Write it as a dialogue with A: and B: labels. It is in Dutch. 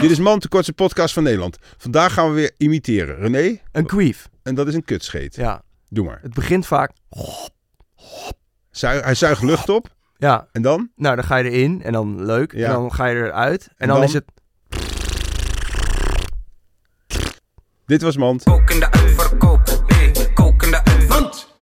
A: Dit is Man, de kortste podcast van Nederland. Vandaag gaan we weer imiteren. René,
B: Een queef.
A: en dat is een kutscheet.
B: Ja.
A: Doe maar.
B: Het begint vaak.
A: Zui- hij zuigt lucht op
B: Ja.
A: en dan?
B: Nou, dan ga je erin en dan leuk.
A: Ja.
B: En dan ga je eruit. En, dan,
A: dan?
B: is het.
A: Dit was Mand.
C: Kokende uitverkoop, nee, kokende uit. Want